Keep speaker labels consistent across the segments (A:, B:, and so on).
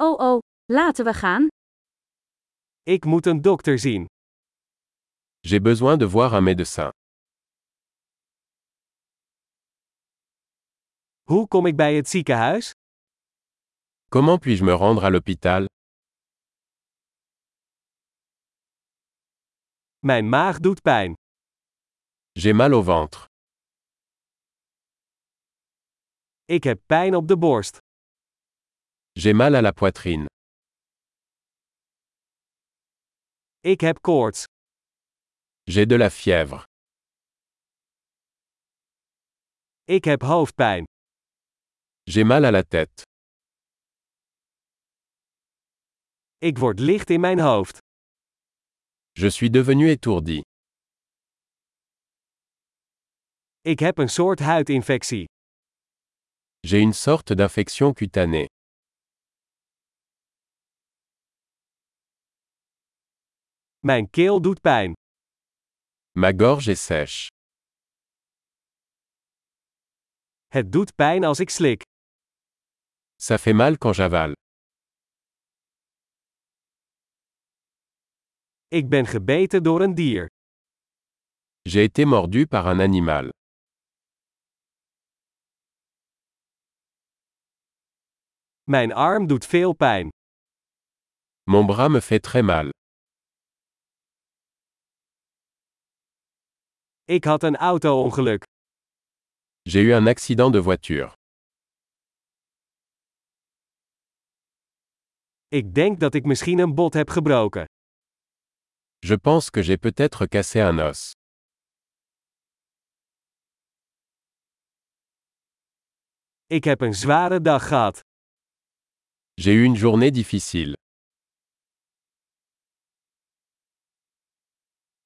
A: Oh oh, laten we gaan.
B: Ik moet een dokter zien.
C: J'ai besoin de voir un médecin.
B: Hoe kom ik bij het ziekenhuis?
C: Comment puis-je me rendre à l'hôpital
B: Mijn maag doet pijn.
C: J'ai mal au ventre.
B: Ik heb pijn op de borst.
C: J'ai mal à la poitrine.
B: Ik heb koorts.
C: J'ai de la fièvre.
B: Ik heb hoofdpijn.
C: J'ai mal à la tête.
B: Ik word licht in mijn hoofd.
C: Je suis devenu étourdi.
B: Ik heb een soort huidinfectie.
C: J'ai une sorte d'infection cutanée.
B: Mijn keel doet pijn.
C: Ma gorge est sèche.
B: Het doet pijn als ik slik.
C: Ça fait mal quand j'avale.
B: Ik ben gebeten door een dier.
C: J'ai été mordu par un animal.
B: Mijn arm doet veel pijn.
C: Mon bras me fait très mal.
B: Ik had een auto-ongeluk.
C: J'ai eu un accident de voiture.
B: Ik denk dat ik misschien een bot heb gebroken.
C: Je pense que j'ai peut-être cassé un os.
B: Ik heb een zware dag gehad.
C: J'ai eu une journée difficile.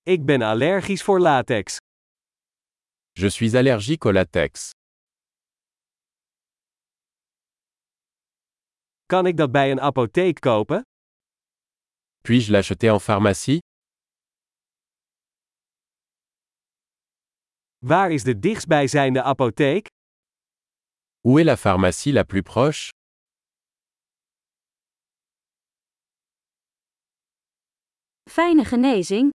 B: Ik ben allergisch voor latex.
C: Je suis allergique au latex.
B: Kan ik dat bij een apotheek kopen?
C: Puis-je l'acheter en pharmacie
B: Waar is de dichtstbijzijnde apotheek?
C: Où est la pharmacie la plus proche
A: Fijne genezing.